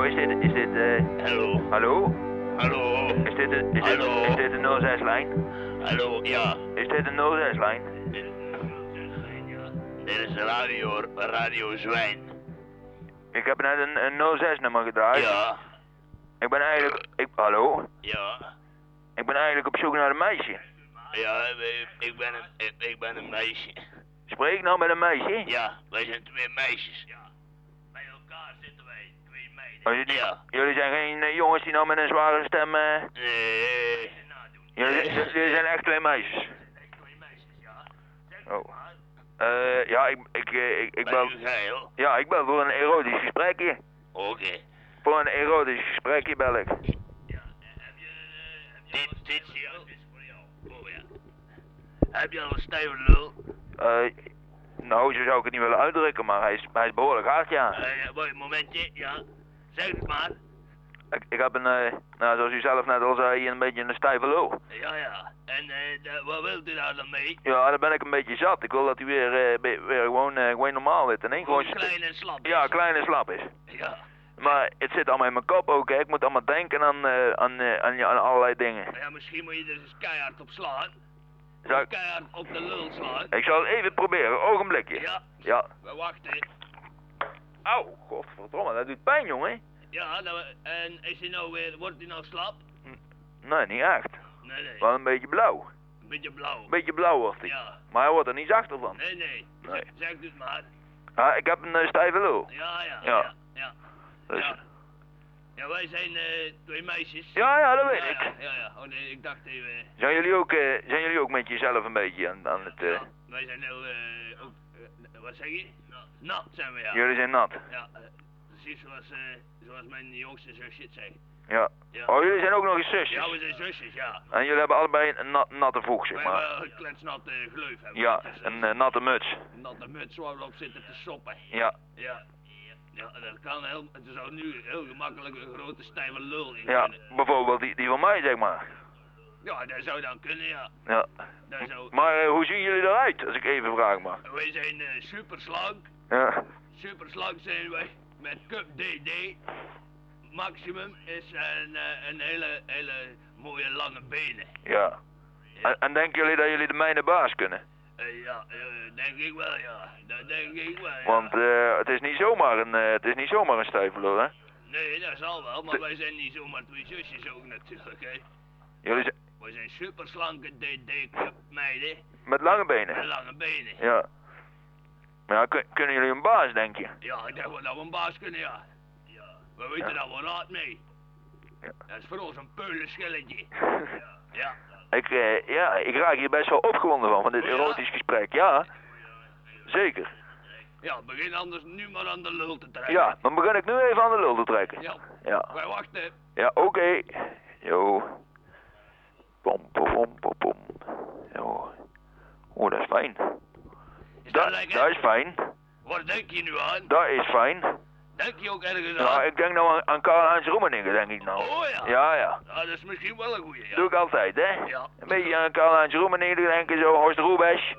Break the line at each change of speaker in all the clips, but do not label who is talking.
dit... eh,
Hallo,
hallo?
hallo,
Is dit, de, is, dit,
Hallo.
is dit de 06-lijn?
hallo, ja.
Is dit de 06-lijn?
Dit is radio, radio Zwijn.
Ik heb net een, een 06-nummer gedraaid.
Ja,
Ik ben eigenlijk... Ik, hallo?
ja,
Ik ben eigenlijk op zoek naar een meisje.
ja, ik ben een, ik, ik ben een meisje.
Spreek ik nou met een meisje?
Ja, wij zijn twee meisjes. Ja, bij elkaar zitten wij, twee
Oh, jullie,
Ja,
jullie zijn geen eh, jongens die nou met een zware stem... eh,
nee.
jullie,
Nee.
jullie zijn echt twee meisjes.
Twee meisjes, ja.
Oh. Eh, ja, ik, ik, eh, ik, ik
Ben u
bel...
geil?
Ja, ik bel voor een erotisch gesprekje.
Oké.
Voor een erotisch gesprekje bel ik.
Dit, dit is jou. Dit is voor jou. Oh ja. Heb je al een stijve lul?
Eh, nou, zo zou ik het niet willen uitdrukken, maar hij is, hij is behoorlijk hard, ja.
Eh, ja, mooi momentje, ja. Zeg het maar.
Ik, ik heb een, eh, nou, zoals u zelf net al zei, een beetje een stijve lul.
Ja, ja. En eh, da- wat wilt u daar dan mee?
Ja, daar ben ik een beetje zat. Ik wil dat hij weer, eh, be- weer gewoon, eh, gewoon normaal wordt. En één gewoon...
Gewoon klein en slap.
Ja, klein en slap is.
Ja.
Maar het zit allemaal in mijn kop ook, hè. Ik moet allemaal denken aan, eh, aan, eh, aan, ja, aan allerlei dingen.
ja, misschien moet je er eens keihard op slaan.
Zou ik...
Keihard op de lul slaan.
ik zal het even proberen, ogenblikje.
Ja,
Ja.
we wachten.
Auw, godverdomme, dat doet pijn, jongen.
Ja, nou, en is hij nou weer, wordt hij nou slap?
Nee, niet echt.
Nee, nee.
Wel een beetje blauw.
Een beetje blauw.
Een beetje blauw wordt hij.
Ja.
Maar hij wordt er niet zachter van.
Nee, nee.
Nee.
Zeg het maar.
Ah, ik heb een eh, stijve lul.
Ja, ja.
Ja.
Ja. ja.
Dus...
Ja. Ja, wij zijn eh, twee meisjes.
Ja, ja, dat weet
ja,
ik.
ja, ja, ja. Oh nee, ik dacht even. eh,
Zijn jullie ook, eh, zijn jullie ook met jezelf een beetje aan, aan het... eh,
ja, wij zijn heel, eh, ook, eh, wat zeg je? Nat zijn we ja.
Jullie zijn nat.
Ja, eh, precies zoals, eh, zoals mijn jongste zusje het zei.
Ja.
Ja.
Oh, jullie zijn ook nog eens
ja, we
zusjes.
zijn zusjes, ja.
En jullie hebben allebei een nat, natte voeg, zeg
Wij
maar.
hebben een kletsnatte gleuf hebben.
Ja,
Dus, eh,
een eh, natte muts.
natte muts waar we op zitten te soppen.
Ja,
Ja. Ja, dat kan heel, het zou nu heel gemakkelijk een grote stijve lul in
ja.
kunnen.
Bijvoorbeeld die, die van mij, zeg maar.
Ja, dat zou dan kunnen, ja.
Ja.
Dat zou...
Maar eh, hoe zien jullie eruit, als ik even vraag mag?
Wij zijn eh, super slank.
Ja.
Super slank zijn wij met Cup DD. Maximum is een, eh, een hele, hele mooie lange benen.
Ja. En, en denken jullie dat jullie de mijne baas kunnen?
Eh, ja, eh, denk ik wel, ja. Dat denk ik wel. Ja.
Want eh, het is niet zomaar een, eh, het is niet zomaar een stijve lul, hè?
Nee, dat zal wel, maar wij zijn niet zomaar twee zusjes ook natuurlijk, hè.
Jullie zijn
Wij zijn super slanke DD-cup meiden
met lange
met
benen.
lange benen.
Ja. Maar ja, kun- kunnen jullie een baas, denk je?
Ja, ik denk wel dat we nou een baas kunnen, ja. We weten
Ja.
daar wel raad mee.
Ja.
Dat is voor ons een peulenschilletje. Ja.
Ik, eh, ja, ik raak hier best wel opgewonden van, van dit
Ja?
erotisch gesprek. Ja, zeker.
Ja, begin anders nu maar aan de lul te trekken.
Ja, dan begin ik nu even aan de lul te trekken.
Ja,
Ja,
wij wachten.
ja oké. Jo. Pom, pom, pom, pom, pom. Jo. Oeh, dat is fijn.
Is dat
Dat,
lekker?
dat is fijn.
Waar denk je nu aan?
Dat is fijn.
Denk je ook ergens aan?
Nou, ik denk nou aan, aan Karl-Heinz Roemeningen, denk ik nou.
Oh ja.
Ja, ja.
Ah, dat is misschien wel een goeie, ja.
Doe ik altijd, hè?
Ja.
Een beetje aan Karl-Heinz Roemeningen denken, zo Horst Roebesch.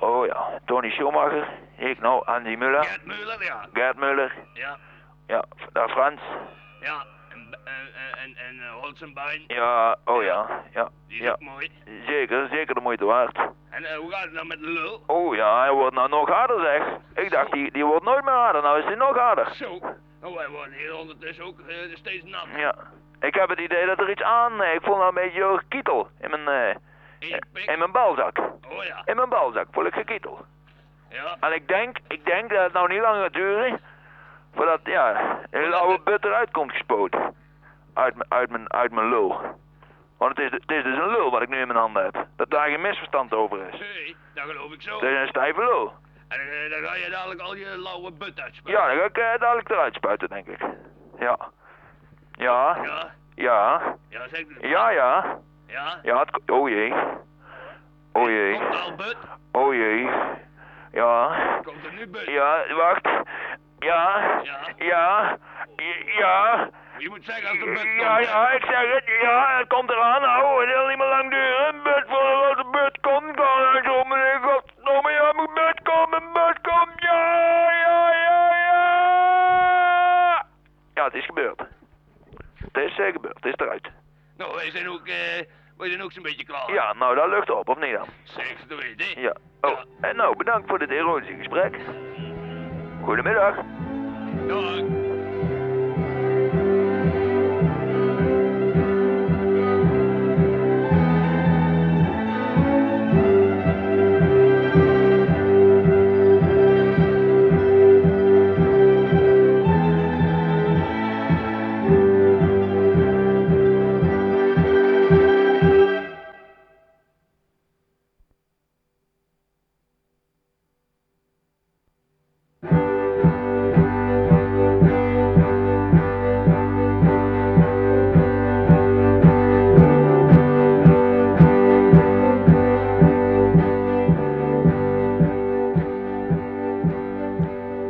Oh ja, Tony Schumacher. Ik nou, Andy Muller.
Gert Muller, ja.
Gerd Muller.
Ja,
Ja, daar Frans.
ja. En, en, en, en, en eh, Holzenbein,
Ja, oh ja. Ja,
die is
ja.
ook mooi.
Zeker, zeker de moeite waard.
En eh, hoe gaat het nou met de lul?
Oh ja, hij wordt nou nog harder zeg. Ik dacht, die, die wordt nooit meer harder, nou is hij nog harder.
Zo. Nou, wij worden hier ondertussen ook eh, steeds nat.
Ja. Ik heb het idee dat er iets aan, eh, ik voel nou een beetje eh, gekietel in mijn, eh,
En je pik.
in mijn balzak.
Oh ja.
In mijn balzak voel ik gekietel.
Ja.
En ik denk, ik denk dat het nou niet lang gaat duren, voordat, ja, een hele oude but eruit komt gespoten. Uit, mijn- uit, mijn, uit mijn lul. Want het is, de- het is dus een lul wat ik nu in mijn handen heb. Dat daar geen misverstand over is.
Hey, dat geloof ik zo.
Het is een stijve lul.
En eh, dan ga je dadelijk al je lauwe but uitspuiten.
Ja, dan ga ik eh, dadelijk eruit spuiten, denk ik. Ja. Ja,
Ja.
ja,
Ja, zeg het.
ja, ja.
Ja.
Ja, het ko- oh jee. Oh jee,
Komt er al but?
oh jee. Ja,
Komt er nu but?
ja, wacht. Ja,
Ja.
ja, ja.
Je moet zeggen als de but komt.
Ja,
hè.
ja, ik zeg het. Ja, het komt eraan. Nou, het wil niet meer lang duren. Een but voor een grote but komt. Kan er zo meneer Goddomme. Ja, mijn but komt. Mijn but komt. Ja, ja, ja, ja. Ja, het is gebeurd. Het is zeker gebeurd, het is eruit.
Nou, wij zijn ook, eh, wij zijn ook zo'n beetje
Oh.
klaar.
Ja, nou dat lucht op, of niet dan?
Zeker te weten. hè?
Ja. Oh, en nou, bedankt voor dit erotische gesprek. Goedemiddag.
Dag.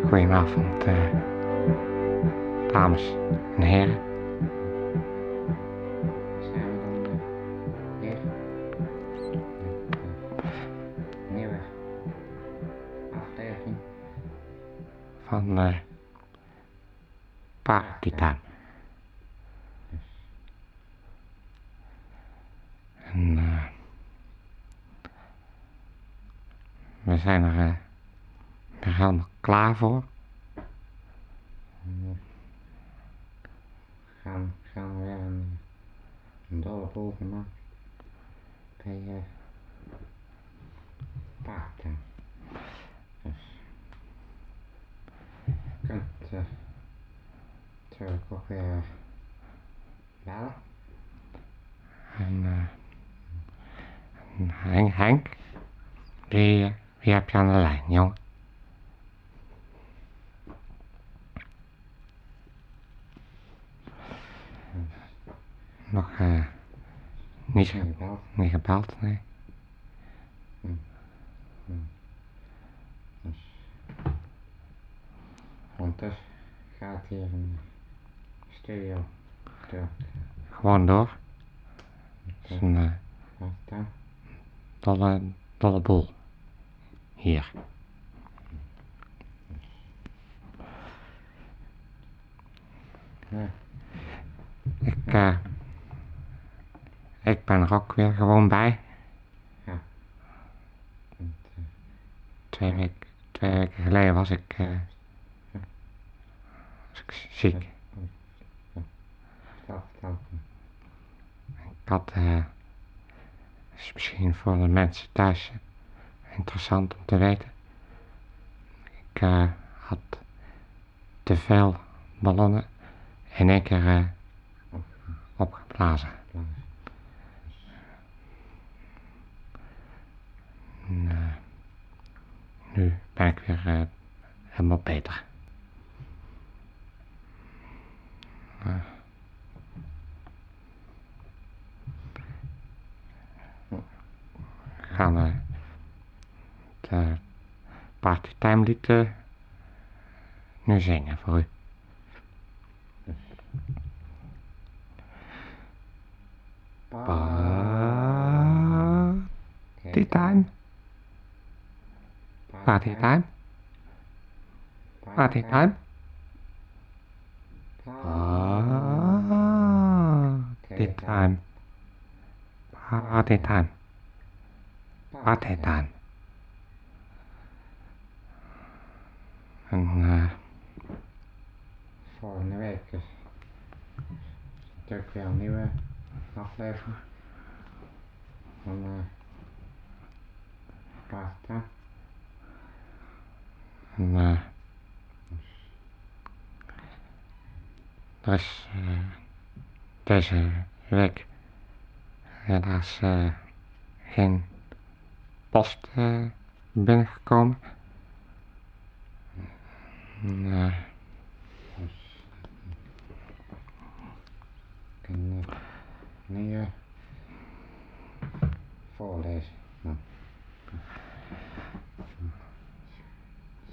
Goedenavond, eh, dames en heren. Zijn we dan eh, weer eh, met een nieuwe aflevering van eh Paratitaan. En eh, we zijn er eh, weer helemaal klaar voor.
gaan, gaan we weer een, een dolle boel van maken. Bij eh paarden. Dus. Je kunt eh
uh,
natuurlijk ook weer eh, bellen.
En, eh, en Henk, Henk, wie, eh, wie heb je aan de lijn, jongen? Nog eh, niet,
Zijn
ge-
je belt?
niet gebeld, nee.
Hm. Dus, Ondertussen gaat hier een studio door
Gewoon door. Het is een eh,
paarden.
dolle, dolle boel. Hier.
Ja,
Ik, eh, ik ben er ook weer gewoon bij.
en, eh,
Twee, week- twee weken geleden was ik, eh, was ik z- ziek.
vertel, vertel.
Ik had, eh, is misschien voor de mensen thuis eh, interessant om te weten. Ik eh, had te veel ballonnen in één keer eh, opgeblazen. En, eh, nu ben ik weer eh, helemaal beter. gaan we het eh, partytime lied eh, nu zingen voor u. Partytime, partytime, partytime. 啊 Partytime, 啊 partytime, 啊 partytime. En eh,
Volgende week is natuurlijk weer een nieuwe aflevering van eh Pasta.
En, eh, er is eh, deze week helaas eh, geen post eh, binnengekomen. En, eh,
En eh nu eh, voorlezen. Nou.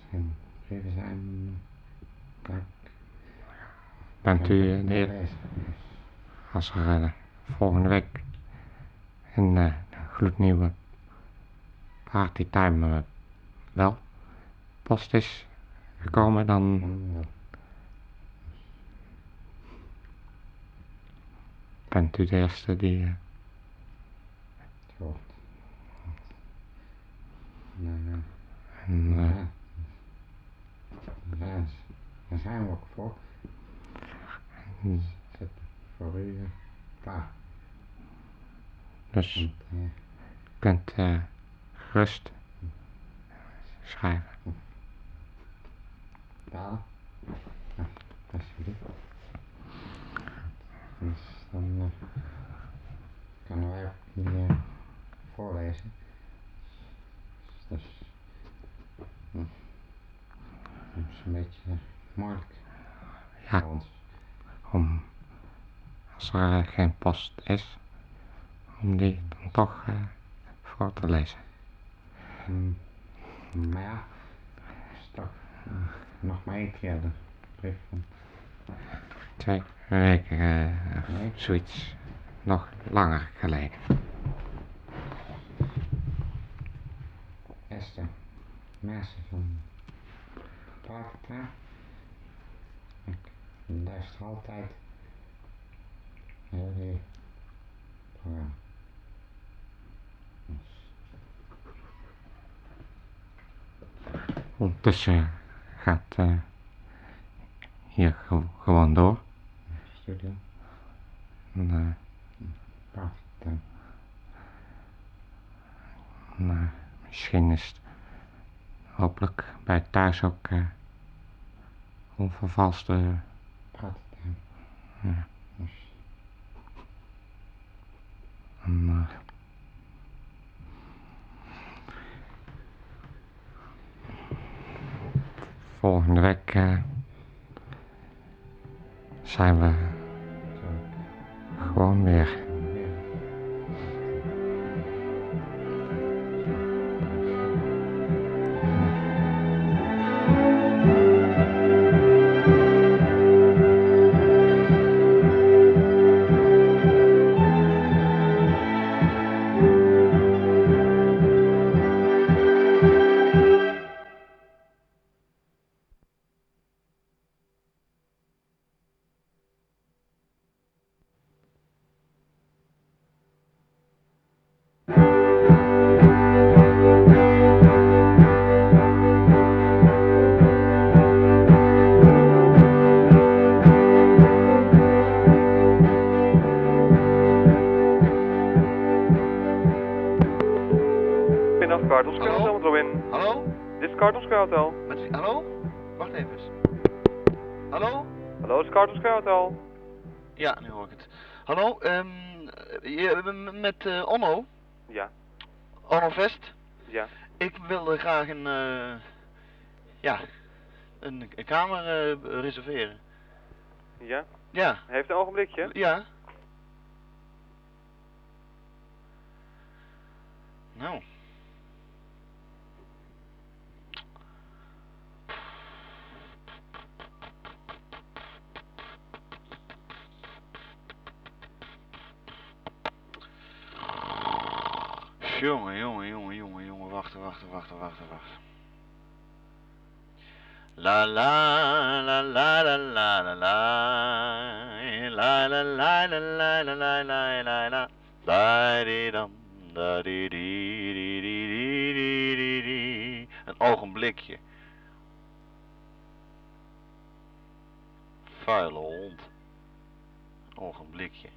Zijn brieven zijn. eh, Kijk,
bent u eh, de eer-
lezen.
als er eh, volgende week een eh, gloednieuwe partytime eh, wel post is gekomen, dan
Dan wel.
bent u de eerste die... eh,
Zo. Nou ja.
een, eh,
Ja. Ja, s- daar zijn we ook voor.
Hmm.
Zet voor u eh, klaar.
Dus
Want, eh,
u kunt eh, gerust schrijven.
betalen. Ja, alsjeblieft. Dus dan eh, kunnen wij ook die eh, voorlezen. Dus hm, dat is een beetje eh, moeilijk
Ja.
voor ons.
Om, als er eh, geen post is, om die dan toch eh, voor te lezen.
Hmm. Maar ja, stak nog maar één keer dus, de brief van.
Twee weken eh, of
Nee.
zoiets. Nog langer geleden.
Esther, meisje van Parkta. Ik luister altijd naar jullie programma. Dus,
Ondertussen gaat eh, hier ge- gewoon door.
studio,
En, eh,
Parkta.
En, eh, misschien is het hopelijk bij thuis ook eh, onvervalste.
Parkta.
Ja.
Dus,
En, eh, volgende week eh, zijn we
zo,
gewoon weer.
dan weer.
Vanaf Cardinal Square Hotel
Hallo?
met Robin.
Hallo?
Dit is Cardinal Square Hotel.
Wat is, hallo? Wacht even eens. Hallo?
Hallo, dit is Cardinal Square Hotel.
Ja, nu hoor ik het. Hallo, ehm, je- m- met eh, Onno?
Ja.
Onno Vest?
Ja.
Ik wilde graag een, eh, ja, een, een kamer eh, reserveren.
Ja?
Ja.
Heeft een ogenblikje?
Ja. Nou. Jongen, jongen, jongen, jongen, jongen, wachten, wachten, wachten, wachten, wachten. La la la la la la la la la la la la la la la la la la la di dam da di di di di di di di di Een ogenblikje. Vuile hond. Een ogenblikje.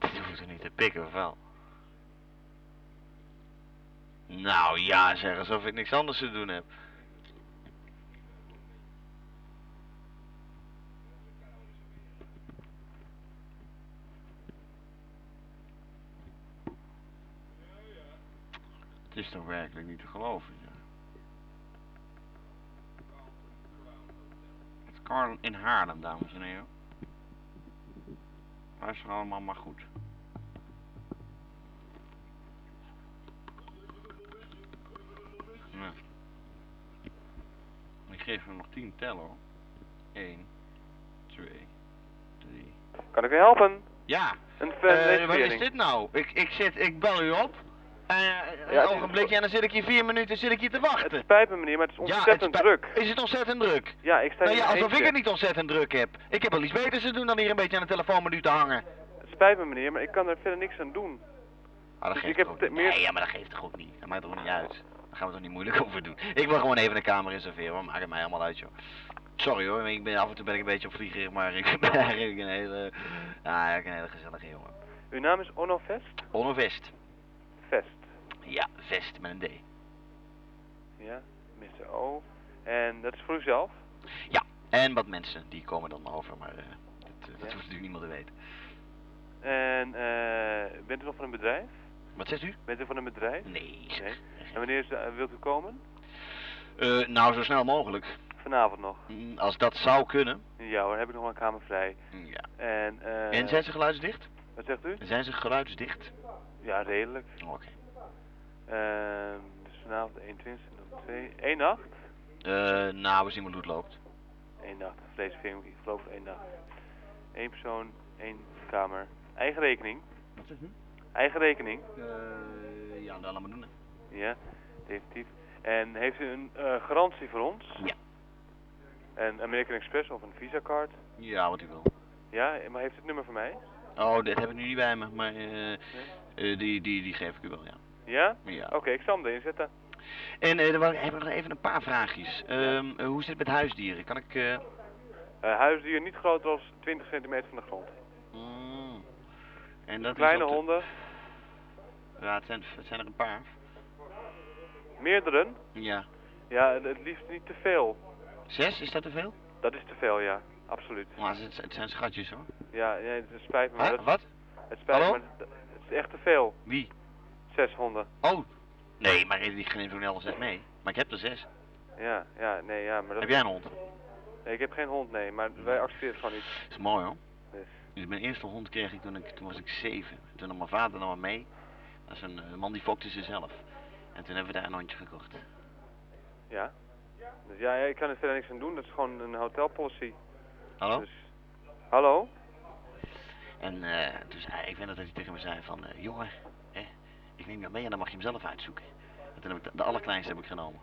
Je hoeft er niet te pikken, of wel? Nou ja, zeg alsof ik niks anders te doen heb. Het is toch werkelijk niet te geloven, ja. Het is Carl in Haarlem, dames en heren. Luister allemaal maar goed. Ja. Ik geef hem nog 10 tellen hoor. 1, 2, 3.
Kan ik u helpen?
Ja,
Een
eh, wat is nou?
verleesverering.
dit nou? Ik, ik, zit, ik bel u op. eh,
Ja,
een
het is-
ogenblikje en dan zit ik hier vier minuten zit ik hier te
Het
wachten.
spijt me meneer, maar het is
Ja, het
ontzettend
spijt-
druk.
Is het ontzettend druk?
Ja, ik sta
Nou
hier
ja,
in mijn
alsof ik
eentje.
het niet ontzettend druk heb. Ik heb al iets beters te doen dan hier een beetje aan de telefoon met u te hangen.
Het spijt me meneer, maar ik kan er verder niks aan doen.
Ah, dat
Dus
geeft
ik heb
toch ook
te-
niet.
meer-
Nee, ja, maar dat geeft toch ook niet. Dat maakt toch niet uit. Daar gaan we toch niet moeilijk over doen. Ik wil gewoon even een kamer reserveren, hoor. Maakt het mij allemaal uit, joh. Sorry hoor, ik ben, af en toe ben ik een beetje opvliegerig, maar ik ben eigenlijk een hele... Ja, eigenlijk een hele gezellige jongen.
Uw naam is Onno Vest?
Onno Vest.
Vest.
Ja, Vest met een D.
Ja, Mr. O. En dat is voor uzelf?
En wat mensen, die komen dan over, maar eh, dat, eh, dat
Ja.
hoeft natuurlijk niemand te weten.
En eh, bent u nog van een bedrijf?
Wat zegt u?
Bent u van een bedrijf?
Nee.
Nee.
zeg.
En wanneer is- eh, wilt u komen?
Eh, nou, zo snel mogelijk.
Vanavond nog.
Mm, Als dat zou kunnen.
Ja hoor, heb ik nog maar een kamer vrij.
Ja.
En, eh...
En zijn ze geluidsdicht?
Wat zegt u?
Zijn ze geluidsdicht?
Ja, redelijk.
Oké.
Ehm, dus vanavond 21 of 2. Eén nacht?
Eh, nou, we zien hoe het loopt.
Eén nacht. Vleesverving, ik geloof één nacht. Eén persoon, één kamer. Eigen rekening.
Wat is het?
Eigen rekening.
ja, dat laat maar doen. hè.
Ja, definitief. En heeft u een eh, garantie voor ons?
Ja.
Een American Express of een Visa card?
Ja, wat u wil.
Ja, maar heeft u het nummer voor mij?
Oh, dit heb ik nu niet bij me, maar eh, eh, die, die, die geef ik u wel, ja.
Ja?
ja.
Oké, ik zal hem erin zetten.
En eh, er waren, heb ik nog even een paar vraagjes. Ehm, eh, hoe zit het met huisdieren? Kan ik... eh,
Eh huisdier niet groter dan 20 centimeter van de grond.
mm, en dat is
Kleine
op de-
honden,
Ja, het zijn, het zijn er een paar.
meerdere.
Ja.
Ja, het liefst niet te veel.
Zes, is dat te veel?
Dat is te veel, ja. Absoluut.
Maar het, het zijn schatjes hoor.
Ja, ja het spijt me. maar
Huh?
dat-
Wat?
Het spijt me,
Hallo?
maar dat- het is echt te veel.
Wie?
Zes honden.
Oh! Nee, maar die geen van alles zegt nee. Maar ik heb er zes.
Ja, ja, nee, ja, maar dat...
Heb jij een hond?
Nee, ik heb geen hond, nee, maar wij accepteren het gewoon niet.
is mooi hoor.
Dus.
Dus mijn eerste hond kreeg ik toen, ik toen was ik zeven. Toen nam mijn vader nam me mee. Dat is een eh, man die fokte zichzelf. En toen hebben we daar een hondje gekocht.
Ja. Dus ja, ja, ik kan er verder niks aan doen. Dat is gewoon een hotelpolicy.
Hallo?
Dus... Hallo?
En eh, toen zei ik weet nog dat hij tegen me zei van, eh, jongen, hè, ik neem jou mee en dan mag je hem zelf uitzoeken. En toen heb ik de, de allerkleinste heb ik genomen.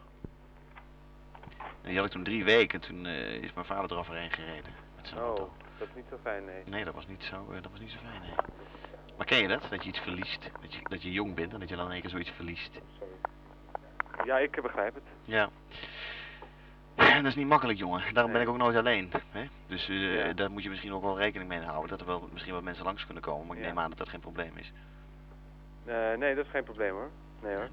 En die had ik toen drie weken, toen eh, is mijn vader eroverheen gereden. Met zijn
Oh,
auto.
dat is niet zo fijn, nee.
Nee, dat was niet zo, eh, dat was niet zo fijn. nee. Maar ken je dat? Dat je iets verliest. Dat je, dat je jong bent en dat je dan in één keer zoiets verliest.
Ja, ik begrijp het.
Ja. En dat is niet makkelijk, jongen. Daarom
Nee.
ben ik ook nooit alleen. Hè? Dus eh,
Ja.
daar moet je misschien ook wel rekening mee houden. Dat er wel misschien wat mensen langs kunnen komen. Maar ik
Ja.
neem aan dat dat geen probleem is.
Eh, nee, dat is geen probleem hoor. Nee hoor.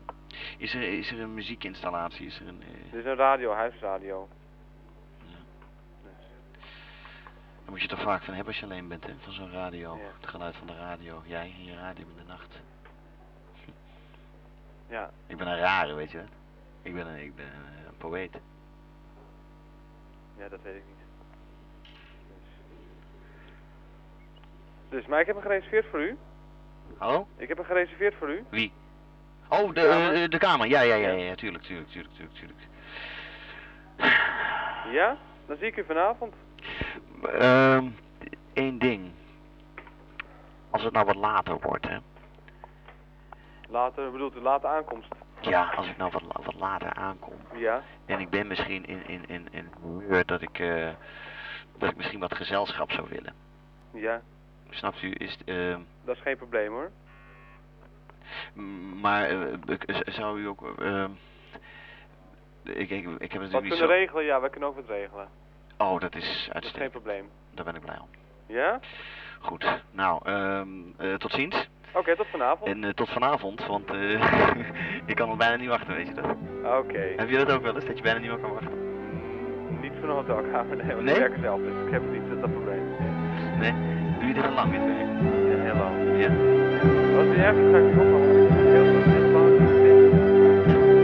Is er, is er een muziekinstallatie? Is er een, eh,
Dit is een radio, huisradio.
daar moet je toch vaak van hebben als je alleen bent, hè? Van zo'n radio.
Ja.
Het geluid van de radio. Jij en je radio in de nacht.
Ja.
Ik ben een rare, weet je dat? Ik ben een, ik ben een, eh, een poëet.
Ja, dat weet ik niet. Dus. Dus, maar ik heb hem gereserveerd voor u.
Hallo?
Ik heb hem gereserveerd voor u.
Wie? Oh, de,
Kamer?
eh, de kamer. Ja, ja, ja,
Ja.
ja, Tuurlijk, tuurlijk, tuurlijk, tuurlijk, tuurlijk.
Ja? Dan zie ik u vanavond.
Ehm, één ding. Als het nou wat later wordt, hè?
Later, bedoelt u late aankomst?
Ja, als ik nou wat, la- wat later aankom.
Ja.
En ik ben misschien in, in, in, in het humeur dat ik, eh, dat ik misschien wat gezelschap zou willen.
Ja.
Snapt u? Is, het, ehm,
Dat is geen probleem hoor.
m- maar eh, ik- z- zou u ook... ehm, ik, ik, ik heb
Wat
natuurlijk niet
kunnen
zo...
regelen? Ja, wij kunnen ook wat regelen.
Oh, dat is
Dat is geen
uitstekend.
probleem.
Daar ben ik blij om.
Ja?
Goed. Nou, ehm, eh, tot ziens.
Oké, tot vanavond.
En eh, tot vanavond, want eh, ik kan al bijna niet wachten, weet je dat?
Oké.
Heb je dat ook wel eens, dat je bijna niet meer kan wachten?
Niet voor een hotelkamer, nee, want
Nee?
ik werk er zelf, dus ik heb niet dat, dat probleem.
Nee? Doe je dit al lang dit werk?
Ja, heel lang.
Ja.
Als die ergens ga ik erop, want ik ben heel lang- heel lang.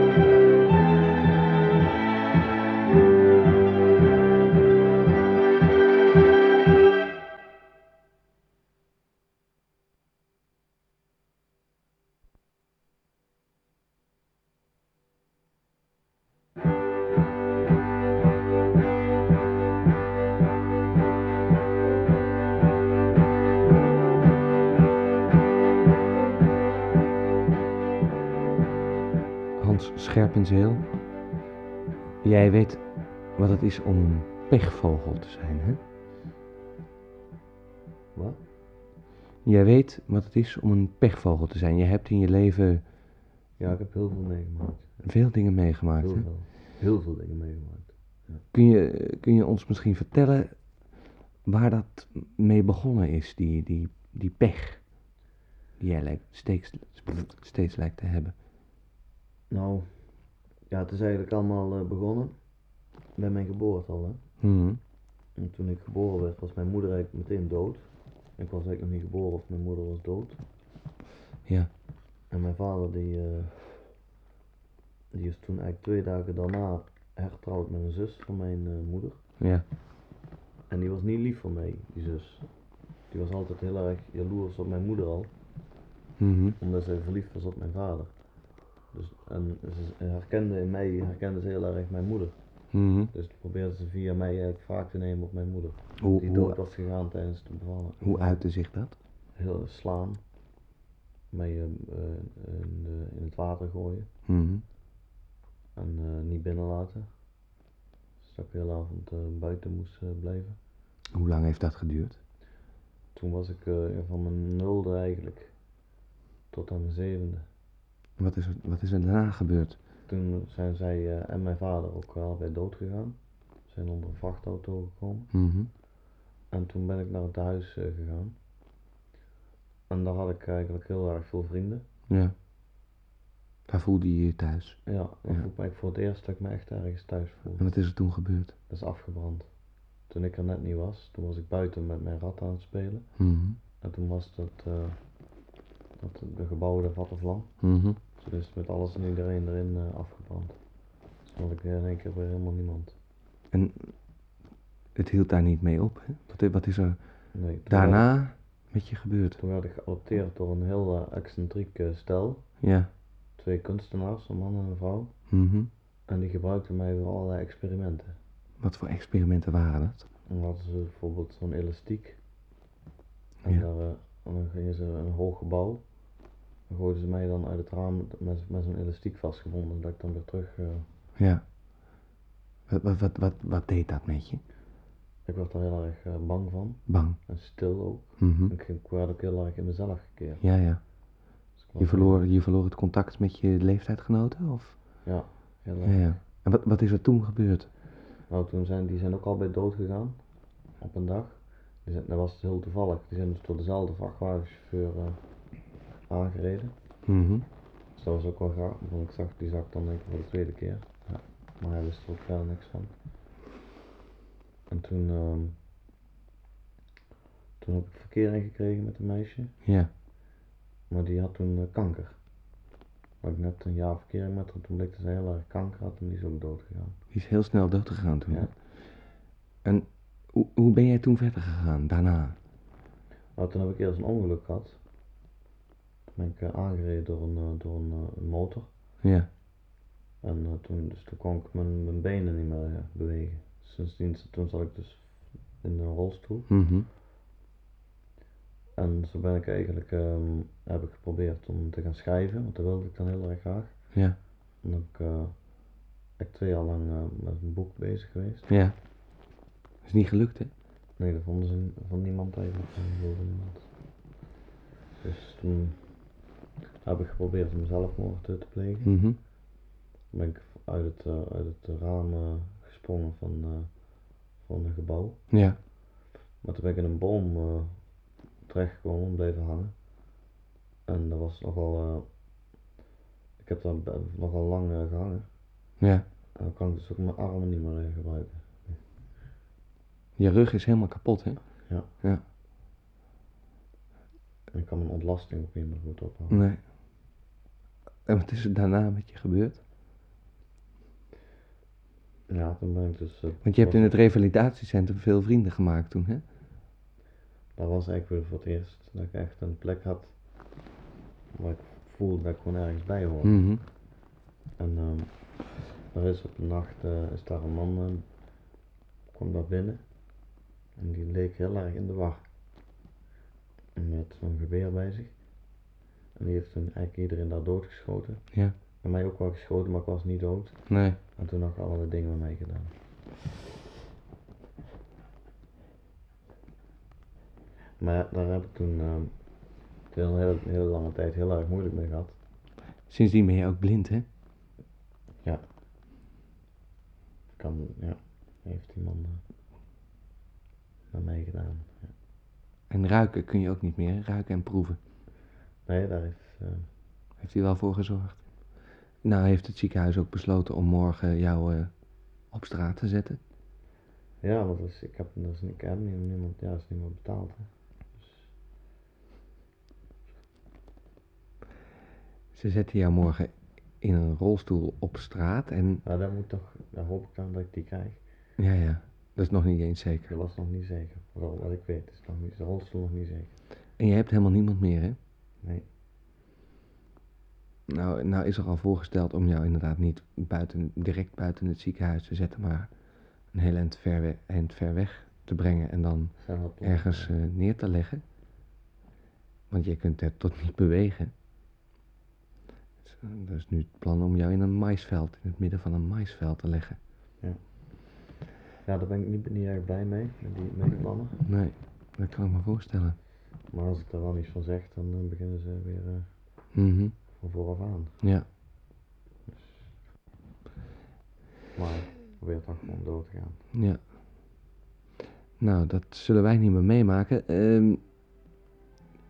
Thank Scherpenzeel. Jij weet wat het is om een pechvogel te zijn, hè? Wat? Jij weet wat het is om een pechvogel te zijn. Je hebt in je leven
Ja, ik heb heel veel meegemaakt.
veel dingen meegemaakt.
Heel
Hè?
veel. Heel veel dingen meegemaakt.
Kun, je, kun je ons misschien vertellen waar dat mee begonnen is, die, die, die pech die jij lijkt, steeds, steeds lijkt te hebben?
Nou, ja, het is eigenlijk allemaal eh, begonnen bij mijn geboorte al, hè.
Hm.
En toen ik geboren werd, was mijn moeder eigenlijk meteen dood. Ik was eigenlijk nog niet geboren of mijn moeder was dood.
Ja.
En mijn vader die, eh, die is toen eigenlijk twee dagen daarna hertrouwd met een zus van mijn eh, moeder.
Ja.
En die was niet lief voor mij, die zus. Die was altijd heel erg jaloers op mijn moeder al,
Mhm.
omdat zij verliefd was op mijn vader. Dus, en ze herkende in mij, herkende ze heel erg mijn moeder.
Mhm.
Dus probeerde ze via mij eigenlijk wraak te nemen op mijn moeder.
Hoe,
Die dood
hoe,
was gegaan tijdens de bevalling.
hoe uitte zich dat?
heel slaan. Mee eh, eh, in, de- in het water gooien
Mhm.
en eh, niet binnen laten. Dus dat ik de hele avond eh, buiten moest eh, blijven.
Hoe lang heeft dat geduurd?
Toen was ik eh, van mijn nulde eigenlijk tot aan mijn zevende.
Wat is er, wat is er daarna gebeurd?
Toen zijn zij eh, en mijn vader ook allebei dood gegaan. Ze Zijn onder een vrachtauto gekomen.
Mhm.
En toen ben ik naar het huis eh, gegaan. En daar had ik eigenlijk heel erg veel vrienden.
Ja. Daar voelde je je thuis.
Ja, dat voelde
Ja.
ik me eigenlijk voor het eerst dat ik me echt ergens thuis voelde.
En wat is er toen gebeurd?
Dat is afgebrand. Toen ik er net niet was, toen was ik buiten met mijn rat aan het spelen.
Mhm.
En toen was dat, eh dat de gebouw de vatte vlam.
Mhm.
Toen is het met alles en iedereen erin eh, afgebrand. Toen had ik in één keer weer helemaal niemand.
En het hield daar niet mee op. Hè? Wat, i- wat is er
Nee, toen werd
daarna met je
ik-
gebeurd?
toen werd ik geadopteerd door een heel eh, excentriek eh, stel.
Ja.
Twee kunstenaars, een man en een vrouw.
Mhm.
En die gebruikten mij voor allerlei experimenten.
Wat voor experimenten waren dat?
En dan hadden ze bijvoorbeeld zo'n elastiek. En,
Ja.
daar, eh, en dan gingen ze naar een hoog gebouw. Dan gooiden ze mij dan uit het raam met- met, met zo'n elastiek vastgebonden. Dat ik dan weer terug... eh,
Ja. Wat, wat, wat, wat, wat deed dat met je?
ik werd daar heel erg eh, bang van.
Bang.
En stil ook.
Mhm.
Ik, ging- ik werd ook heel erg in mezelf gekeerd.
Ja, ja.
Dus ik
Je
was-
verloor, je verloor het contact met je leeftijdgenoten? Of?
Ja, heel erg.
Ja, ja. En wat, wat is er toen gebeurd?
Nou, toen zijn, die zijn ook al bij dood gegaan. Op een dag. Die zijn, dat was dus heel toevallig. Die zijn dus door dezelfde vrachtwagenchauffeur eh, aangereden.
Mhm.
Dus dat was ook wel gaaf, want ik zag die zak dan denk ik voor de tweede keer. Maar hij wist er ook verder niks van. En toen, ehm, toen heb ik verkering gekregen met een meisje,
Ja.
maar die had toen eh, kanker. Had ik net een jaar verkering met haar, toen bleek dat ze heel erg kanker had en die is ook dood gegaan.
Die is heel snel dood gegaan toen.
Ja.
En hoe, hoe ben jij toen verder gegaan daarna?
Nou, toen heb ik eerst een ongeluk gehad. Toen ben ik eh, aangereden door een, eh, door een, eh, een motor.
Ja.
En eh, toen, dus toen kon ik mijn, mijn benen niet meer eh, bewegen. Sindsdien, toen zat ik dus in een rolstoel.
Mhm.
En zo ben ik eigenlijk, ehm, heb ik geprobeerd om te gaan schrijven, want dat wilde ik dan heel erg graag.
Ja.
En dan ben ik, eh, ik twee jaar lang eh, met een boek bezig geweest.
Ja. Is niet gelukt, hè?
Nee, dat vonden ze n- van niemand eigenlijk, van wilde niemand. Dus toen heb ik geprobeerd om zelfmoord eh, te plegen.
Mhm.
Toen ben ik uit het, eh, uit het raam eh, gesprongen van, eh, van een gebouw.
Ja.
Maar toen ben ik in een boom eh, terechtgekomen en bleven hangen. En dat was nogal. eh, ik heb daar be- nogal lang eh, gehangen.
Ja.
En dan kan ik dus ook mijn armen niet meer eh, gebruiken.
Je rug is helemaal kapot, hè?
En ik kan mijn ontlasting ook niet meer goed ophouden.
Nee. En wat is er daarna met je gebeurd?
Ja, toen ben ik dus. eh,
Want je hebt in
was-
het revalidatiecentrum veel vrienden gemaakt toen, hè?
Dat was eigenlijk weer voor het eerst dat ik echt een plek had. Waar ik voelde dat ik gewoon ergens bij hoorde.
Mhm.
En ehm er is op een nacht eh, is daar een man eh, kwam daar binnen en die leek heel erg in de war. En die had zo'n geweer bij zich. En die heeft toen eigenlijk iedereen daar doodgeschoten.
Ja.
En mij ook wel geschoten, maar ik was niet dood.
Nee.
En toen had ik allerlei dingen met mij gedaan. Maar ja, daar heb ik toen ehm, toen een hele, hele lange tijd heel erg moeilijk mee gehad.
Sindsdien ben je ook blind, hè?
Kan, ja, heeft die man eh, naar mij gedaan.
En ruiken kun je ook niet meer. Ruiken en proeven.
Nee, daar heeft, eh,
Heeft hij wel voor gezorgd. Nou heeft het ziekenhuis ook besloten om morgen jou eh, op straat te zetten.
ja, want dus, ik heb, dus, ik heb niet- niemand, ja, is niemand betaald. Hè.
Ze zetten jou morgen in een rolstoel op straat en...
Nou, dat moet toch, daar hoop ik dan dat ik die krijg.
Ja, ja. Dat is nog niet eens zeker.
Dat was nog niet zeker. Vooral wat ik weet, is nog niet, de rolstoel nog niet zeker.
En je hebt helemaal niemand meer, hè?
Nee.
Nou, nou is er al voorgesteld om jou inderdaad niet buiten, direct buiten het ziekenhuis te zetten, maar een heel eind ver, we- eind ver weg te brengen en dan
Zijn wel plannen,
ergens
ja.
eh, neer te leggen. Want je kunt er tot niet bewegen. Dus, eh, dat is nu het plan om jou in een maisveld, in het midden van een maisveld te leggen.
Ja, daar ben ik niet, niet erg blij mee, met die, met die plannen.
Nee, dat kan ik me voorstellen.
Maar als ik daar wel iets van zeg, dan eh, beginnen ze weer eh,
Mhm,
van vooraf aan.
Ja.
Maar ik probeer toch gewoon door te gaan.
Ja. Nou, dat zullen wij niet meer meemaken. Ehm,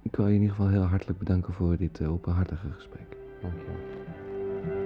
ik wil je in ieder geval heel hartelijk bedanken voor dit eh, openhartige gesprek.
Dankjewel.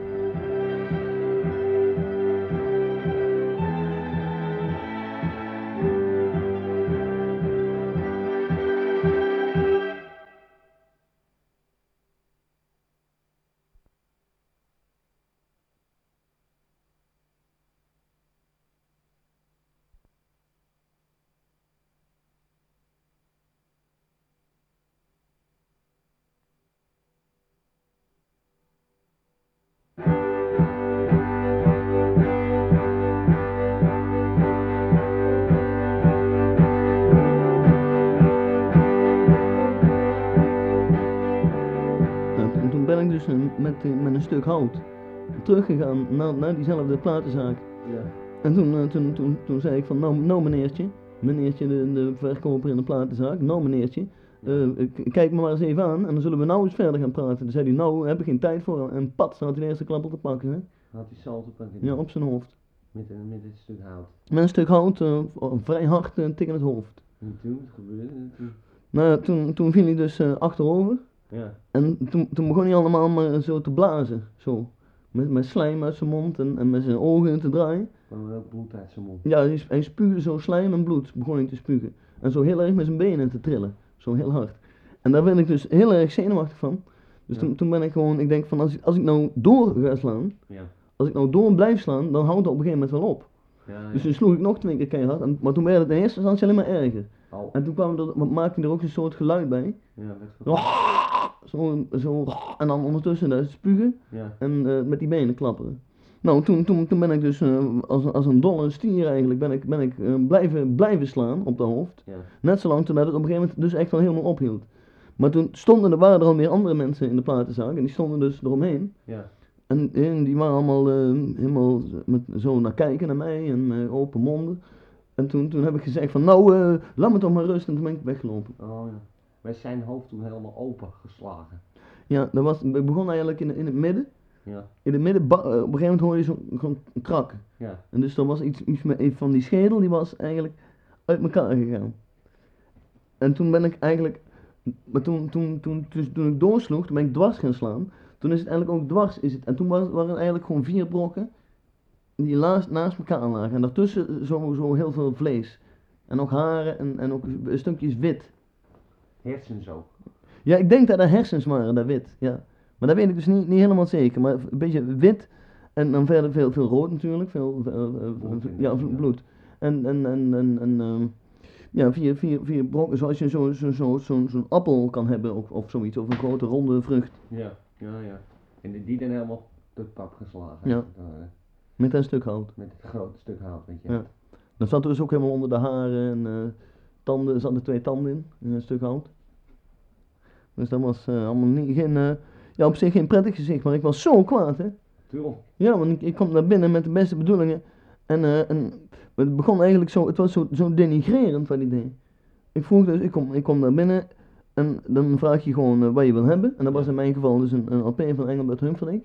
Nou, en toen ben ik dus een- met, eh, met een stuk hout teruggegaan naar, naar diezelfde platenzaak. En toen, eh, toen, toen, toen zei ik van, nou, nou meneertje, meneertje de, de verkoper in de platenzaak, nou meneertje, eh, k- kijk me maar eens even aan en dan zullen we nou eens verder gaan praten. Toen zei hij, nou, heb ik geen tijd voor. En pat, had hij de eerste klap op te pakken, hè?
Had hij zalt op een
Ja, op zijn hoofd.
met, een, met een stuk hout.
Met een stuk hout, eh, v- vrij hard eh, tegen het hoofd.
En toen, wat gebeurde er toen?
Nou, ja, toen, toen viel hij dus eh, achterover.
Ja,
En toen, toen begon hij allemaal maar zo te blazen, zo. Met, met slijm uit zijn mond en, en met zijn ogen te draaien.
kwam er ook bloed uit zijn mond.
Ja, hij, sp- hij spuugde zo slijm en bloed, begon hij te spugen. En zo heel erg met zijn benen te trillen, zo heel hard. En daar ben ik dus heel erg zenuwachtig van. Dus
Ja.
toen, toen ben ik gewoon, ik denk van als, als ik nou door ga slaan,
Ja.
als ik nou door blijf slaan, dan houdt dat op een gegeven moment wel op.
Ja,
Dus
Ah, ja.
toen sloeg ik nog twee keer keihard, en, maar toen werd het in eerste instantie alleen maar erger.
Au.
En toen kwam er, maakte hij er ook een soort geluid bij.
Ja, werd ver-
Zo, zo, en dan ondertussen dat spugen.
Ja,
En eh, met die benen klapperen. Nou, toen, toen, toen ben ik dus eh, als, als een dolle stier eigenlijk, ben ik, ben ik eh, blijven, blijven slaan op de hoofd.
ja.
Net zolang totdat het op een gegeven moment dus echt wel helemaal ophield. Maar toen stonden er, waren er al meer andere mensen in de platenzaak en die stonden dus eromheen.
Ja.
En, en die waren allemaal eh, helemaal met, zo naar kijken naar mij en met open monden. En toen, toen heb ik gezegd van nou, eh, laat me toch maar rust en toen ben ik weggelopen.
Oh ja. Wij zijn hoofd toen helemaal open geslagen.
Ja, dat was, ik begon eigenlijk in, in het midden.
Ja.
In het midden, ba- eh, op een gegeven moment hoorde je zo'n zo'n krak.
Ja.
En dus er was iets, iets met een van die schedel, die was eigenlijk uit elkaar gegaan. En toen ben ik eigenlijk, maar toen, toen, toen, dus toen, toen ik doorsloeg, toen ben ik dwars gaan slaan. Toen is het eigenlijk ook dwars, is het. En toen was, waren het eigenlijk gewoon vier brokken die laast, naast elkaar lagen. En daartussen zo, zo heel veel vlees. En ook haren en, en ook stukjes wit.
Hersens ook.
Ja, ik denk dat er hersens waren, dat wit. Ja. Maar dat weet ik dus niet, niet helemaal zeker. Maar een beetje wit en dan verder veel, veel rood natuurlijk. Veel, eh, eh,
Bloed,
ja,
ja.
bloed. En, en, en, en, en ehm, ja, vier, vier, vier brokken, zoals je zo'n zo, zo, zo, zo'n appel kan hebben of, of zoiets. Of een grote ronde vrucht
Ja. Ja, ja. En die- die dan helemaal tot pap geslagen.
Ja.
als het ware.
met een stuk hout.
Met het grote stuk hout, weet je.
Ja. Dat zat dus ook helemaal onder de haren en eh, tanden, er zaten twee tanden in, in een stuk hout. Dus dat was eh, allemaal niet, geen, eh, Ja, op zich geen prettig gezicht, maar ik was zo kwaad, hè.
Tuurlijk.
Ja, want ik, ik kwam naar binnen met de beste bedoelingen. En, eh, en het begon eigenlijk zo, het was zo, zo denigrerend wat ik deed. Ik vroeg dus, ik kom, ik kom naar binnen en dan vraag je gewoon eh, wat je wil hebben. En dat was in mijn geval dus een, een LP van Engelbert Humperdinck.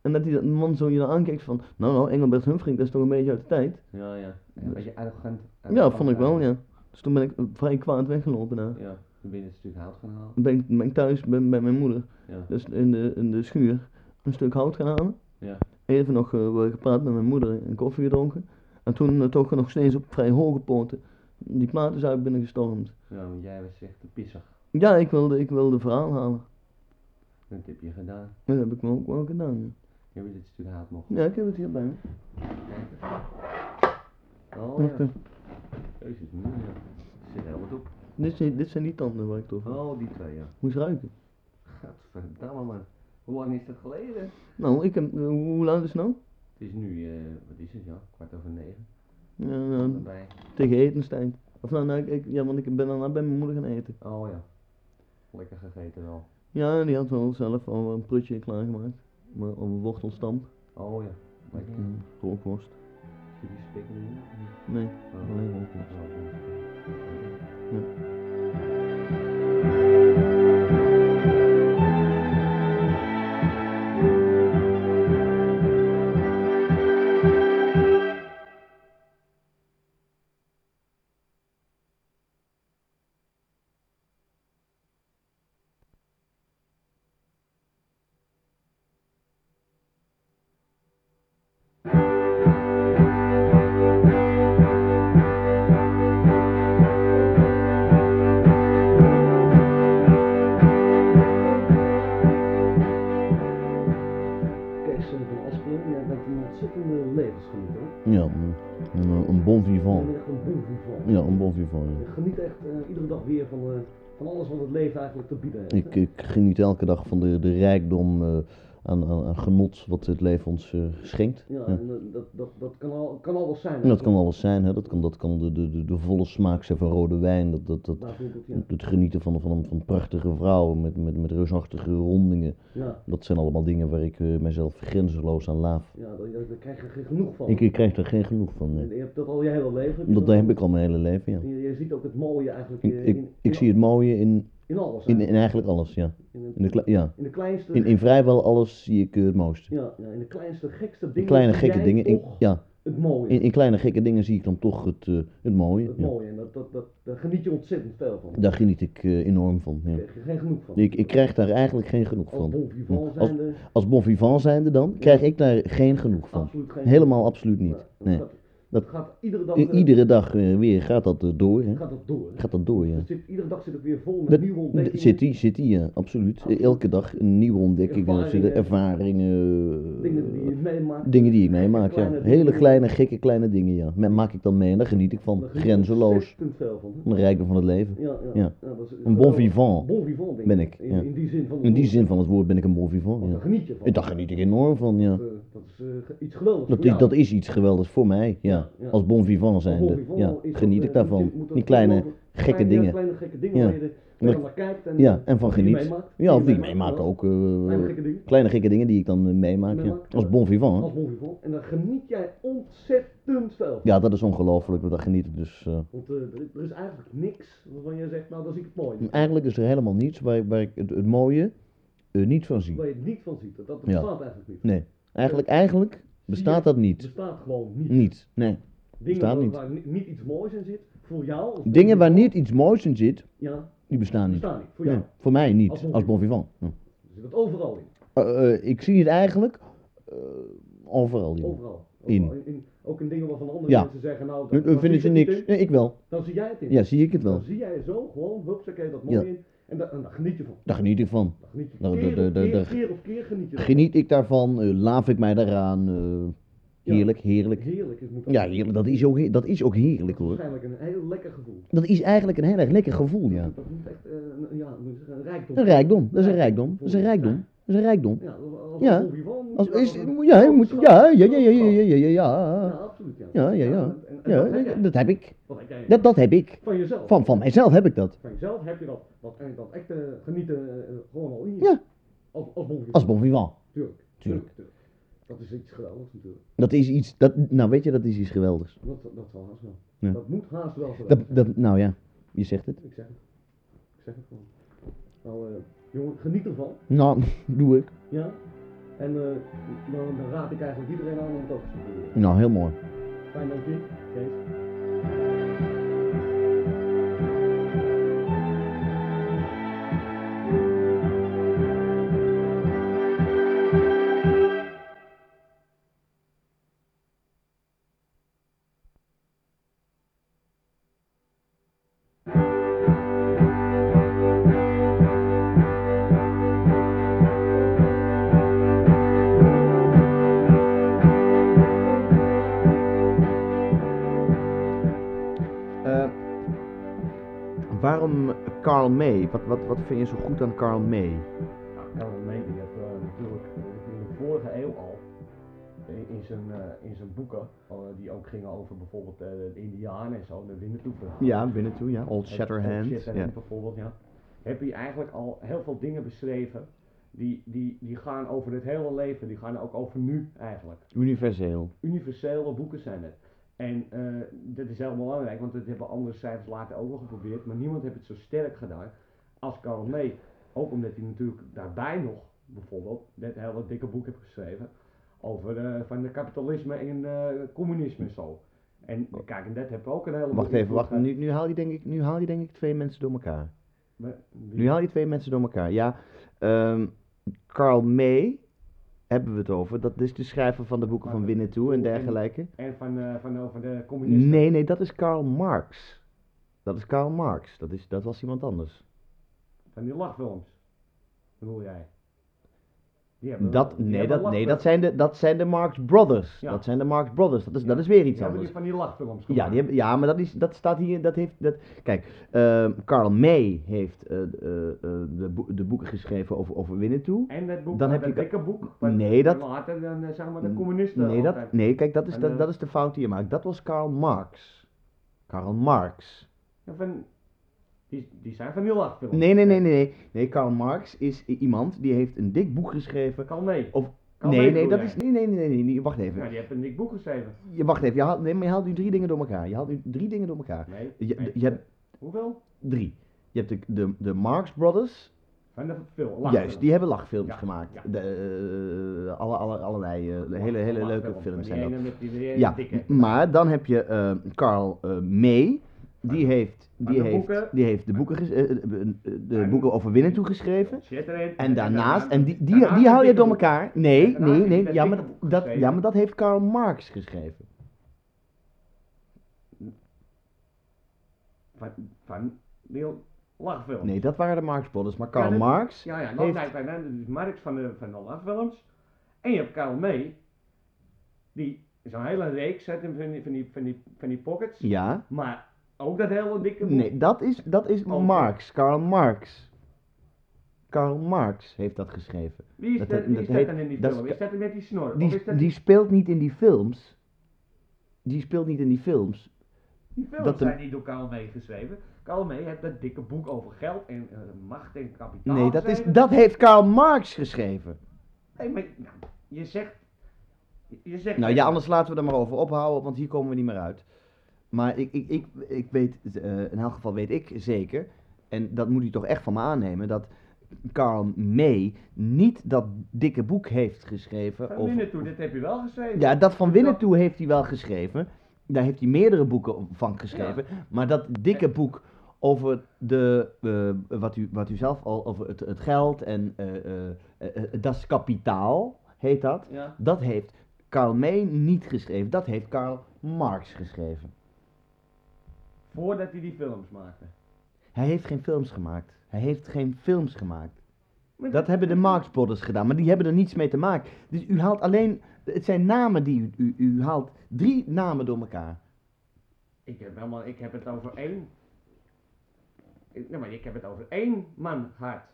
En dat die dat man zo je dan aankijkt van, nou nou, Engelbert Humperdinck, dat is toch een beetje uit de tijd.
Ja, ja. Een beetje arrogant.
Ja,
arrogant
vond ik wel,
eigenlijk.
ja. Dus toen ben ik eh, vrij kwaad weggelopen daar.
Ja, toen ben je een stuk hout gaan halen.
Ben ik, ben ik thuis bij, bij mijn moeder,
Ja.
dus in de, in de schuur, een stuk hout gaan halen.
Ja.
Even nog eh, wat gepraat met mijn moeder en koffie gedronken. En toen eh, toch nog steeds op vrij hoge poten die plaat is uit binnengestormd.
Ja, want jij was echt te pissig.
Ja, ik wilde, ik wilde verhaal halen.
Dat heb je gedaan.
Dat heb ik me ook wel gedaan.
Je hebt dit stuk hout nog.
Ja, ik heb het hier bij me.
Oh
Wacht
ja.
even.
Jezus, moe, ja. Er zit heel wat op.
Dit, zijn, dit zijn die tanden waar ik het over heb.
Oh, die twee, ja.
Moest ruiken.
Gadverdamme, man. Hoe lang is dat geleden?
Nou, ik heb, eh, hoe laat is het nou?
Het is nu, eh, wat is het, ja? Kwart over negen.
Ja, nou,
Daarbij.
tegen etenstijd. Of nou, nou ik, ik- ja, want ik ben daarna bij mijn moeder gaan eten.
Oh ja. Lekker gegeten wel.
Ja, die had wel zelf al een prutje klaargemaakt. Maar op een wortelstamp.
Oh ja. Lekker.
Ja, rookworst.
Heb je spikken in?
Nee,
Oh.
alleen rookworst.
Kees eh, van Asperen, jij bent een ontzettende levensgeniet hoor.
Ja, een, een- een bon
Je
vivant.
bent echt een bon vivant.
Ja, een bon vivant.
Je
ja.
geniet echt eh, iedere dag weer van, eh, van alles wat het leven eigenlijk te bieden heeft.
Ik, eh, ik geniet elke dag van de, de rijkdom eh, aan, aan, aan genot wat het leven ons eh, schenkt.
Ja,
Ja.
en eh, dat, dat, dat kan, al, kan alles zijn.
En dat kan alles zijn, hè. dat kan, dat kan de, de, de, de volle smaak zijn van rode wijn, dat, dat, dat,
Bijvoorbeeld, ja.
het genieten van, van, van prachtige vrouwen met, met, met reusachtige rondingen.
Ja,
Dat zijn allemaal dingen waar ik eh, mezelf grenzeloos aan laaf.
ja daar, daar krijg je geen genoeg van.
Ik, ik krijg er geen genoeg van.
En
nee.
je hebt dat al je hele leven. heb je
Dat heb ik al mijn hele leven, ja.
En Je, je ziet ook het mooie eigenlijk eh,
Ik,
in,
ik,
in,
ik zie het mooie in,
in alles.
in,
eigenlijk.
in eigenlijk alles, ja.
in, het-
In de, kle- ja.
in de kleinste,
In, in vrijwel alles zie ik eh, het mooiste.
ja, ja, in de kleinste, gekste dingen.
In kleine
zie
gekke
jij
dingen. in-
toch
ja,
Het mooie.
in, in kleine gekke dingen zie ik dan toch het, eh, het mooie.
het
Ja.
mooie. En dat, dat, dat, daar geniet je ontzettend veel van. Daar
Daar geniet ik eh, enorm van. Ja.
krijg je geen genoeg van.
Ik, ik krijg daar eigenlijk geen genoeg
Als
van.
bon vivant
Ja, als-
zijnde,
Als bon vivant zijnde dan, krijg ik daar geen genoeg van.
absoluut geen
Helemaal absoluut
Nee,
niet. Nee.
Dat,
Dat-
dat gaat iedere dag,
I- iedere dag eh, weer gaat dat eh, door, hè.
gaat dat door.
Gaat dat door, ja.
Oh, Het zit, iedere dag zit het weer vol met
Dat-
nieuwe ontdekkingen.
Zit die, zit die, ja, absoluut. Elke dag een nieuwe ontdekkingen,
Ervaringen.
ervaringen, eh,
Dingen die je meemaakt.
Dingen die ik meemaak, ja.
Kleine dingen.
Hele kleine, gekke kleine dingen, ja. Me- Maak ik dan mee en daar geniet ik van.
Daar geniet je
Grenzeloos.
ontzettend veel van.
Van de rijkdom van het leven.
Ja, ja.
Ja.
ja, dat is
Een bon vivant
Bon vivant denk
ben ik,
In,
ja.
in die zin van het
In die
woord.
zin van het woord ben ik een bon
Want
vivant,
daar
ja.
geniet je van.
En Daar geniet ik enorm van, ja.
Dat, eh, dat is eh, ge- iets geweldigs.
Dat
voor
is,
jou.
dat is iets geweldigs voor mij, ja.
Ja, ja.
Als bon vivant
Een bon
zijnde,
vivant
ja.
is dat,
Geniet
eh,
ik
moet je-
daarvan.
moet
Die
dat
kleine,
geloven.
gekke
Kleine-
dingen.
Kleine gekke dingen
Ja.
waar je er- waar je naar kijkt. En,
Ja, en van
die je
geniet.
meemaakt,
Ja, of
die
die
je
meemaakt
ja.
ook.
Kleine
eh
gekke dingen.
Kleine gekke dingen die ik dan eh, meemaak, ja.
Meemaakt,
Als
ja.
bon vivant.
Als bon vivant. En daar geniet jij ontzettend veel van.
Ja, dat is ongelooflijk, maar daar geniet ik dus. eh.
Want eh, er, er is eigenlijk niks waarvan jij zegt, nou, dat zie ik het mooi.
Eigenlijk is er helemaal niets waar, waar ik het, het mooie eh, niet van zie.
Waar je het niet van ziet. Dat, dat
Ja.
bestaat eigenlijk niet. Eh,
Nee. Eigenlijk, eigenlijk bestaat dat
Het
niet.
bestaat gewoon niet.
Niet. Nee.
Dingen
bestaat
waar,
niet.
waar ni- niet iets moois in zit, voor jou. als-
Dingen waar niet iets moois in zit,
Ja,
die bestaan niet.
bestaan niet. Voor jou.
Nee, voor mij
Als
niet,
bon
als bon vivant. Ja.
Er zit het overal in.
Eh, eh, ik zie het eigenlijk eh, overal. in.
Overal.
In.
Overal. ook in dingen waarvan andere
Ja.
mensen zeggen, nou,
Nu-
dat,
nu
dat
vind ik
zit
er
niet
niks.
in.
Nee, ik wel.
Dan zie jij het in.
Ja, zie ik het wel.
Dan zie jij zo gewoon, hupsakee, dat
Ja.
mooi in. En, da en daar geniet je van.
Daar geniet ik van.
Daar geniet je
Nou,
keer,
de-
op
de- de-
keer,
de-
keer op keer geniet je van.
Geniet ik daarvan, eh, laaf ik mij daaraan. eh,
Ja.
heerlijk, heerlijk.
Heerlijk. Het moet
Ja, heerlijk. Dat is ook, he- dat is ook heerlijk
Het is
hoor.
waarschijnlijk een heel lekker gevoel.
Dat is eigenlijk een heel erg lekker gevoel, ja.
Dat moet echt eh, een, ja, hoe moet je zeggen, een rijkdom.
Een rijkdom, dat is een rijkdom, dat is een rijkdom, dat is een rijkdom.
Ja, als
Ja.
een bon vivant moet
Als,
je dat
is,
wel-
ja, je moet, ja, ja, ja, ja, ja, ja, ja,
Ja,
ja.
absoluut. Ja,
Ja, ja, ja.
en- en- en
Ja,
dat heb jij.
dat heb ik.
Wat heb jij?
Dat, dat heb ik.
Van jezelf.
Van, van mijzelf heb ik dat.
Van jezelf heb je dat, dat, dat echte genieten eh, gewoon al in je.
Ja.
Als, als bon vivant.
Als bon vivant.
Tuurlijk.
Tuurlijk.
Dat is iets geweldigs natuurlijk.
Dat is iets, dat, nou weet je, dat is iets geweldigs.
Dat, dat zal haast wel.
Ja.
Dat moet haast wel geweldig
Dat,
zijn.
dat, nou ja, je zegt het.
Ik zeg het. Ik zeg het gewoon. Nou, eh, jongen, geniet ervan.
Nou, doe ik.
Ja. En eh, dan, dan raad ik eigenlijk iedereen aan om het ook te doen.
Nou, heel mooi.
Fijn dat je. Kees.
Eh, waarom Carl May? Wat, wat, wat vind je zo goed aan Carl May?
Carol May die heeft eh, natuurlijk in de vorige eeuw al in, in zijn, eh, in zijn boeken, eh, die ook gingen over bijvoorbeeld eh, de Indianen en zo, de Winnetoepen.
Ja, Winnetou, ja. Old Shatterhand,
Old Shatterhand
ja.
bijvoorbeeld, ja. Heb je eigenlijk al heel veel dingen beschreven die, die, die gaan over het hele leven, die gaan ook over nu eigenlijk
Universeel.
universele boeken zijn het. En eh, dat is heel belangrijk, want dat hebben andere schrijvers later ook nog geprobeerd, maar niemand heeft het zo sterk gedaan als Carl May. Ook omdat hij natuurlijk daarbij nog, bijvoorbeeld, net een hele dikke boek heeft geschreven over eh, van de kapitalisme en eh, communisme en zo. En kijk, en dat heeft ook een hele
Wacht
goede
even, wacht.
invloed
Nu, nu, haal je denk ik, nu haal je denk ik twee mensen door elkaar.
gehad. Maar-
Nu haal je twee mensen door elkaar. Ja, ehm, Carl May hebben we het over. Dat is de schrijver van de boeken van Winnetou en dergelijke.
En van, eh, van over de communisme.
Nee, nee, dat is Karl Marx. Dat is Karl Marx. Dat, is, dat was iemand anders.
Van die lachfilms, bedoel jij? Die hebben-
Dat,
die
nee,
hebben
dat, nee
lachfilms.
dat, zijn de, dat zijn de Marx Brothers. Dat zijn de Marx Brothers. Dat is, dat is weer iets
Die hebben
anders.
die van die lachfilms
Ja, die hebben, ja, maar dat, is, dat staat hier, dat heeft, dat, kijk, ehm Karl May heeft eh, eh, eh, de, boe- de boeken geschreven over, over Winnetou.
En dat boek,
Dan
dan
heb
heb
je
dat
ka-
dikke boek.
Nee, dat-
Later dan eh, zeg maar de communisten.
Nee, dat,
altijd.
nee kijk, dat is,
En,
dat,
eh,
dat is de fout die je maakt. Dat was Karl Marx. Karl Marx.
Ja, van, die, die zijn van die lachfilms.
Nee, nee, nee, nee, nee. Nee, Karl Marx is i- iemand die heeft een dik boek geschreven.
Karl May.
Of,
Karl
nee,
May
nee,
bedoel
dat
jij?
is, nee, nee, nee, nee, nee, wacht
Nou,
even.
die hebben een dik boek geschreven.
Je wacht even, je haalt, nee, maar je haalt nu drie dingen door elkaar. Je haalt nu drie dingen door elkaar.
Nee,
Je,
nee.
je hebt
Hoeveel?
drie. Je hebt de, de, de Marx Brothers.
Van de film.
Juist, die hebben lachfilms
Ja,
gemaakt. De, eh, alle, alle, allerlei eh, hele, hele leuke films
Die
zijn
ene
dat.
met die- die ene
Ja,
dikke.
maar dan heb je eh, Carl eh, May. Die heeft, die,
Ah, de
heeft,
boeken- Ah,
die heeft de boeken, ges- eh, eh, de, de boeken over Winnetou geschreven.
Zit erin.
En daarnaast, en die, die,
daarnaast
die hou je
dikke
door
boek.
elkaar. Nee,
daarnaast
nee,
heeft hij
nee.
dat
Ja maar,
dikke
dat- dat, ja,
geschreven.
maar dat heeft Karl Marx geschreven.
Van, van die lachfilms.
Nee, dat waren de Marx Brothers. Maar Karl
Ja, dat-
Marx
Ja, ja, nou,
heeft...
heeft... dus Marx van de, van de lachfilms. En je hebt Karl May. Die zo'n hele reeks heeft van die, van, die, van, die, van die pockets.
Ja.
Maar ook dat hele dikke boek.
Nee, dat is, dat is
Over-
Marx. Karl Marx. Karl Marx heeft dat geschreven.
Wie is dat, wie is dat
heet-
dan in die
dat
film? Is dat met die snor? of
Die,
is dat
die speelt niet in die films. Die speelt niet in die films.
die films
dat de-
zijn niet door Karl May geschreven? Karl May heeft dat dikke boek over geld en eh, macht en kapitaal
Nee, dat, is,
geschreven.
dat heeft Karl Marx geschreven.
Nee, maar nou, je zegt... Je zegt
Nou ja, anders laten we er maar over ophouden, want hier komen we niet meer uit. Maar ik, ik, ik, ik weet, eh, in elk geval weet ik zeker, en dat moet u toch echt van me aannemen, dat Karl May niet dat dikke boek heeft geschreven.
Van
over-
Winnetou, dit heb je wel geschreven.
ja, dat van Winnetou heeft hij wel geschreven. Daar heeft hij meerdere boeken van geschreven. Maar dat dikke boek over de, eh, wat, u, wat u zelf al over het, het geld en eh eh, eh, eh, das kapitaal heet dat.
Ja.
Dat heeft Karl May niet geschreven. Dat heeft Karl Marx geschreven.
Voordat hij die films maakte.
Hij heeft geen films gemaakt. Hij heeft geen films gemaakt.
Maar
Dat hebben de Marx Brothers gedaan, maar die hebben er niets mee te maken. Dus u haalt alleen, het zijn namen die u, u, u haalt drie namen door elkaar.
Ik heb, helemaal, ik heb het over één. Ik, nee, maar ik heb het over één man hart.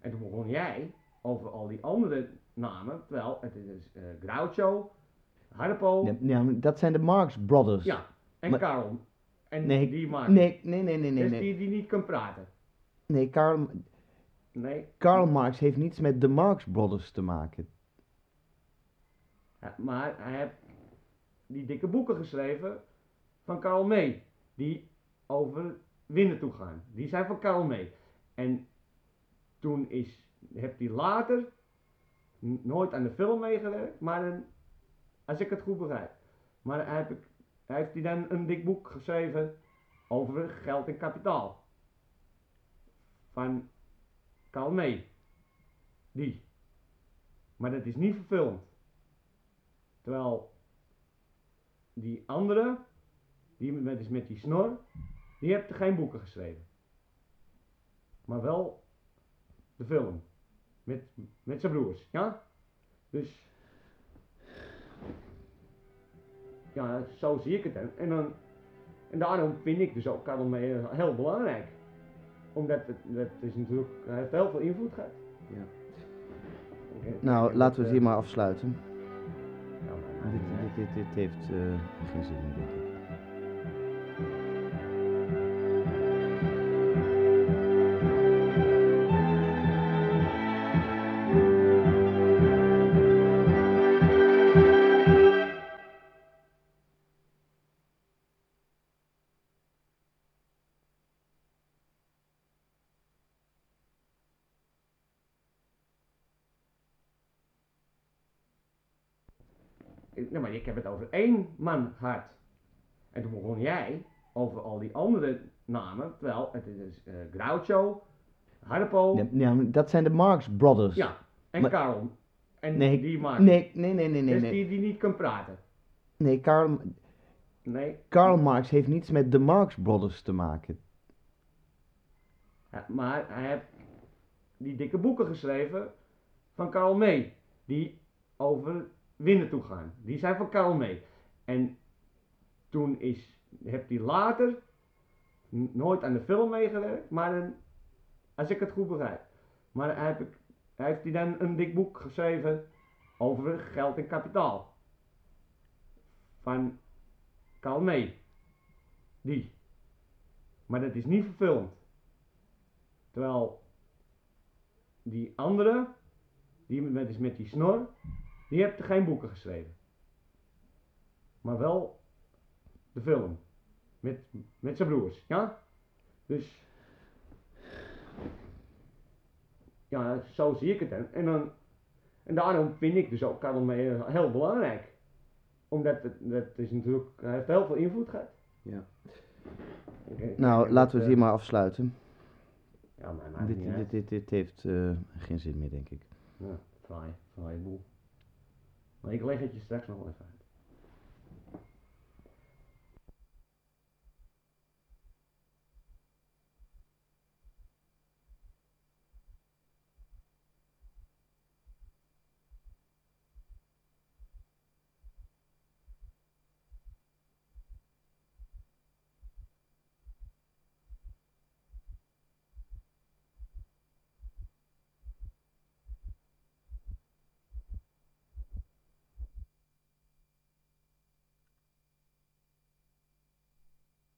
En toen begon jij over al die andere namen. Terwijl het is eh Groucho, Harpo.
Ja, ja, maar dat zijn de Marx Brothers.
Ja, en
Maar-
Karel. En
Nee,
die man.
nee, nee, nee, nee, nee,
Dus
nee.
Die, die niet kan praten.
Nee, Karl,
Nee.
Karl Marx heeft niets met de Marx Brothers te maken.
Ja, Maar hij heeft die dikke boeken geschreven van Karl May. Die over winnen toe gaan. Die zijn van Karl May. En toen is, heb hij later n- nooit aan de film meegewerkt. Maar een, als ik het goed begrijp. Maar hij heb ik, hij heeft hij dan een dik boek geschreven over geld en kapitaal. Van Karl May. Die. Maar dat is niet verfilmd. Terwijl die andere, die met, is met die snor, die heeft geen boeken geschreven. Maar wel de film. Met, met zijn broers, ja? Dus. Ja, zo zie ik het dan. En, dan, en daarom vind ik dus ook Karel May heel belangrijk. Omdat het, het is natuurlijk, hij heeft heel veel invloed gehad.
Ja.
Oké.
Nou, laten we het hier maar afsluiten.
eh, Ja, maar-
Dit, dit, dit, dit heeft eh, geen zin meer, denk ik.
Ik- Nou, maar ik heb het over één man gehad. En toen begon jij over al die andere namen, terwijl het is eh Groucho, Harpo,
Ja, ja, maar dat zijn de Marx Brothers.
ja, en
Maar-
Karel. En
Nee,
die man.
nee, nee, nee, nee, nee,
Dus
nee.
Die, die niet kan praten.
Nee, Karl,
Nee.
Karl Marx heeft niets met de Marx Brothers te maken.
Ja, Maar hij heeft die dikke boeken geschreven van Karl May. Die over winnen toe gaan. Die zijn van Karl May. En toen is, heb hij later n- nooit aan de film meegewerkt. Maar een, als ik het goed begrijp. Maar hij heeft, hij heeft hij dan een dik boek geschreven over geld en kapitaal. Van Karl May. Die. Maar dat is niet verfilmd. Terwijl die andere, die met, is met die snor, die heeft geen boeken geschreven. Maar wel de film. Met, met zijn broers, ja? Dus. Ja, zo zie ik het dan. En, dan, en daarom vind ik dus ook Karel May heel belangrijk. Omdat het, het is natuurlijk, hij heeft heel veel invloed gehad.
Ja.
Oké,
Nou,
en
laten we het
dat,
hier
eh,
maar afsluiten.
Ja, maar maakt
Dit,
niet uit.
dit, dit, dit heeft eh, geen zin meer, denk ik.
Ja, fraai, fraai boel. Maar ik leg het je straks nog wel even uit.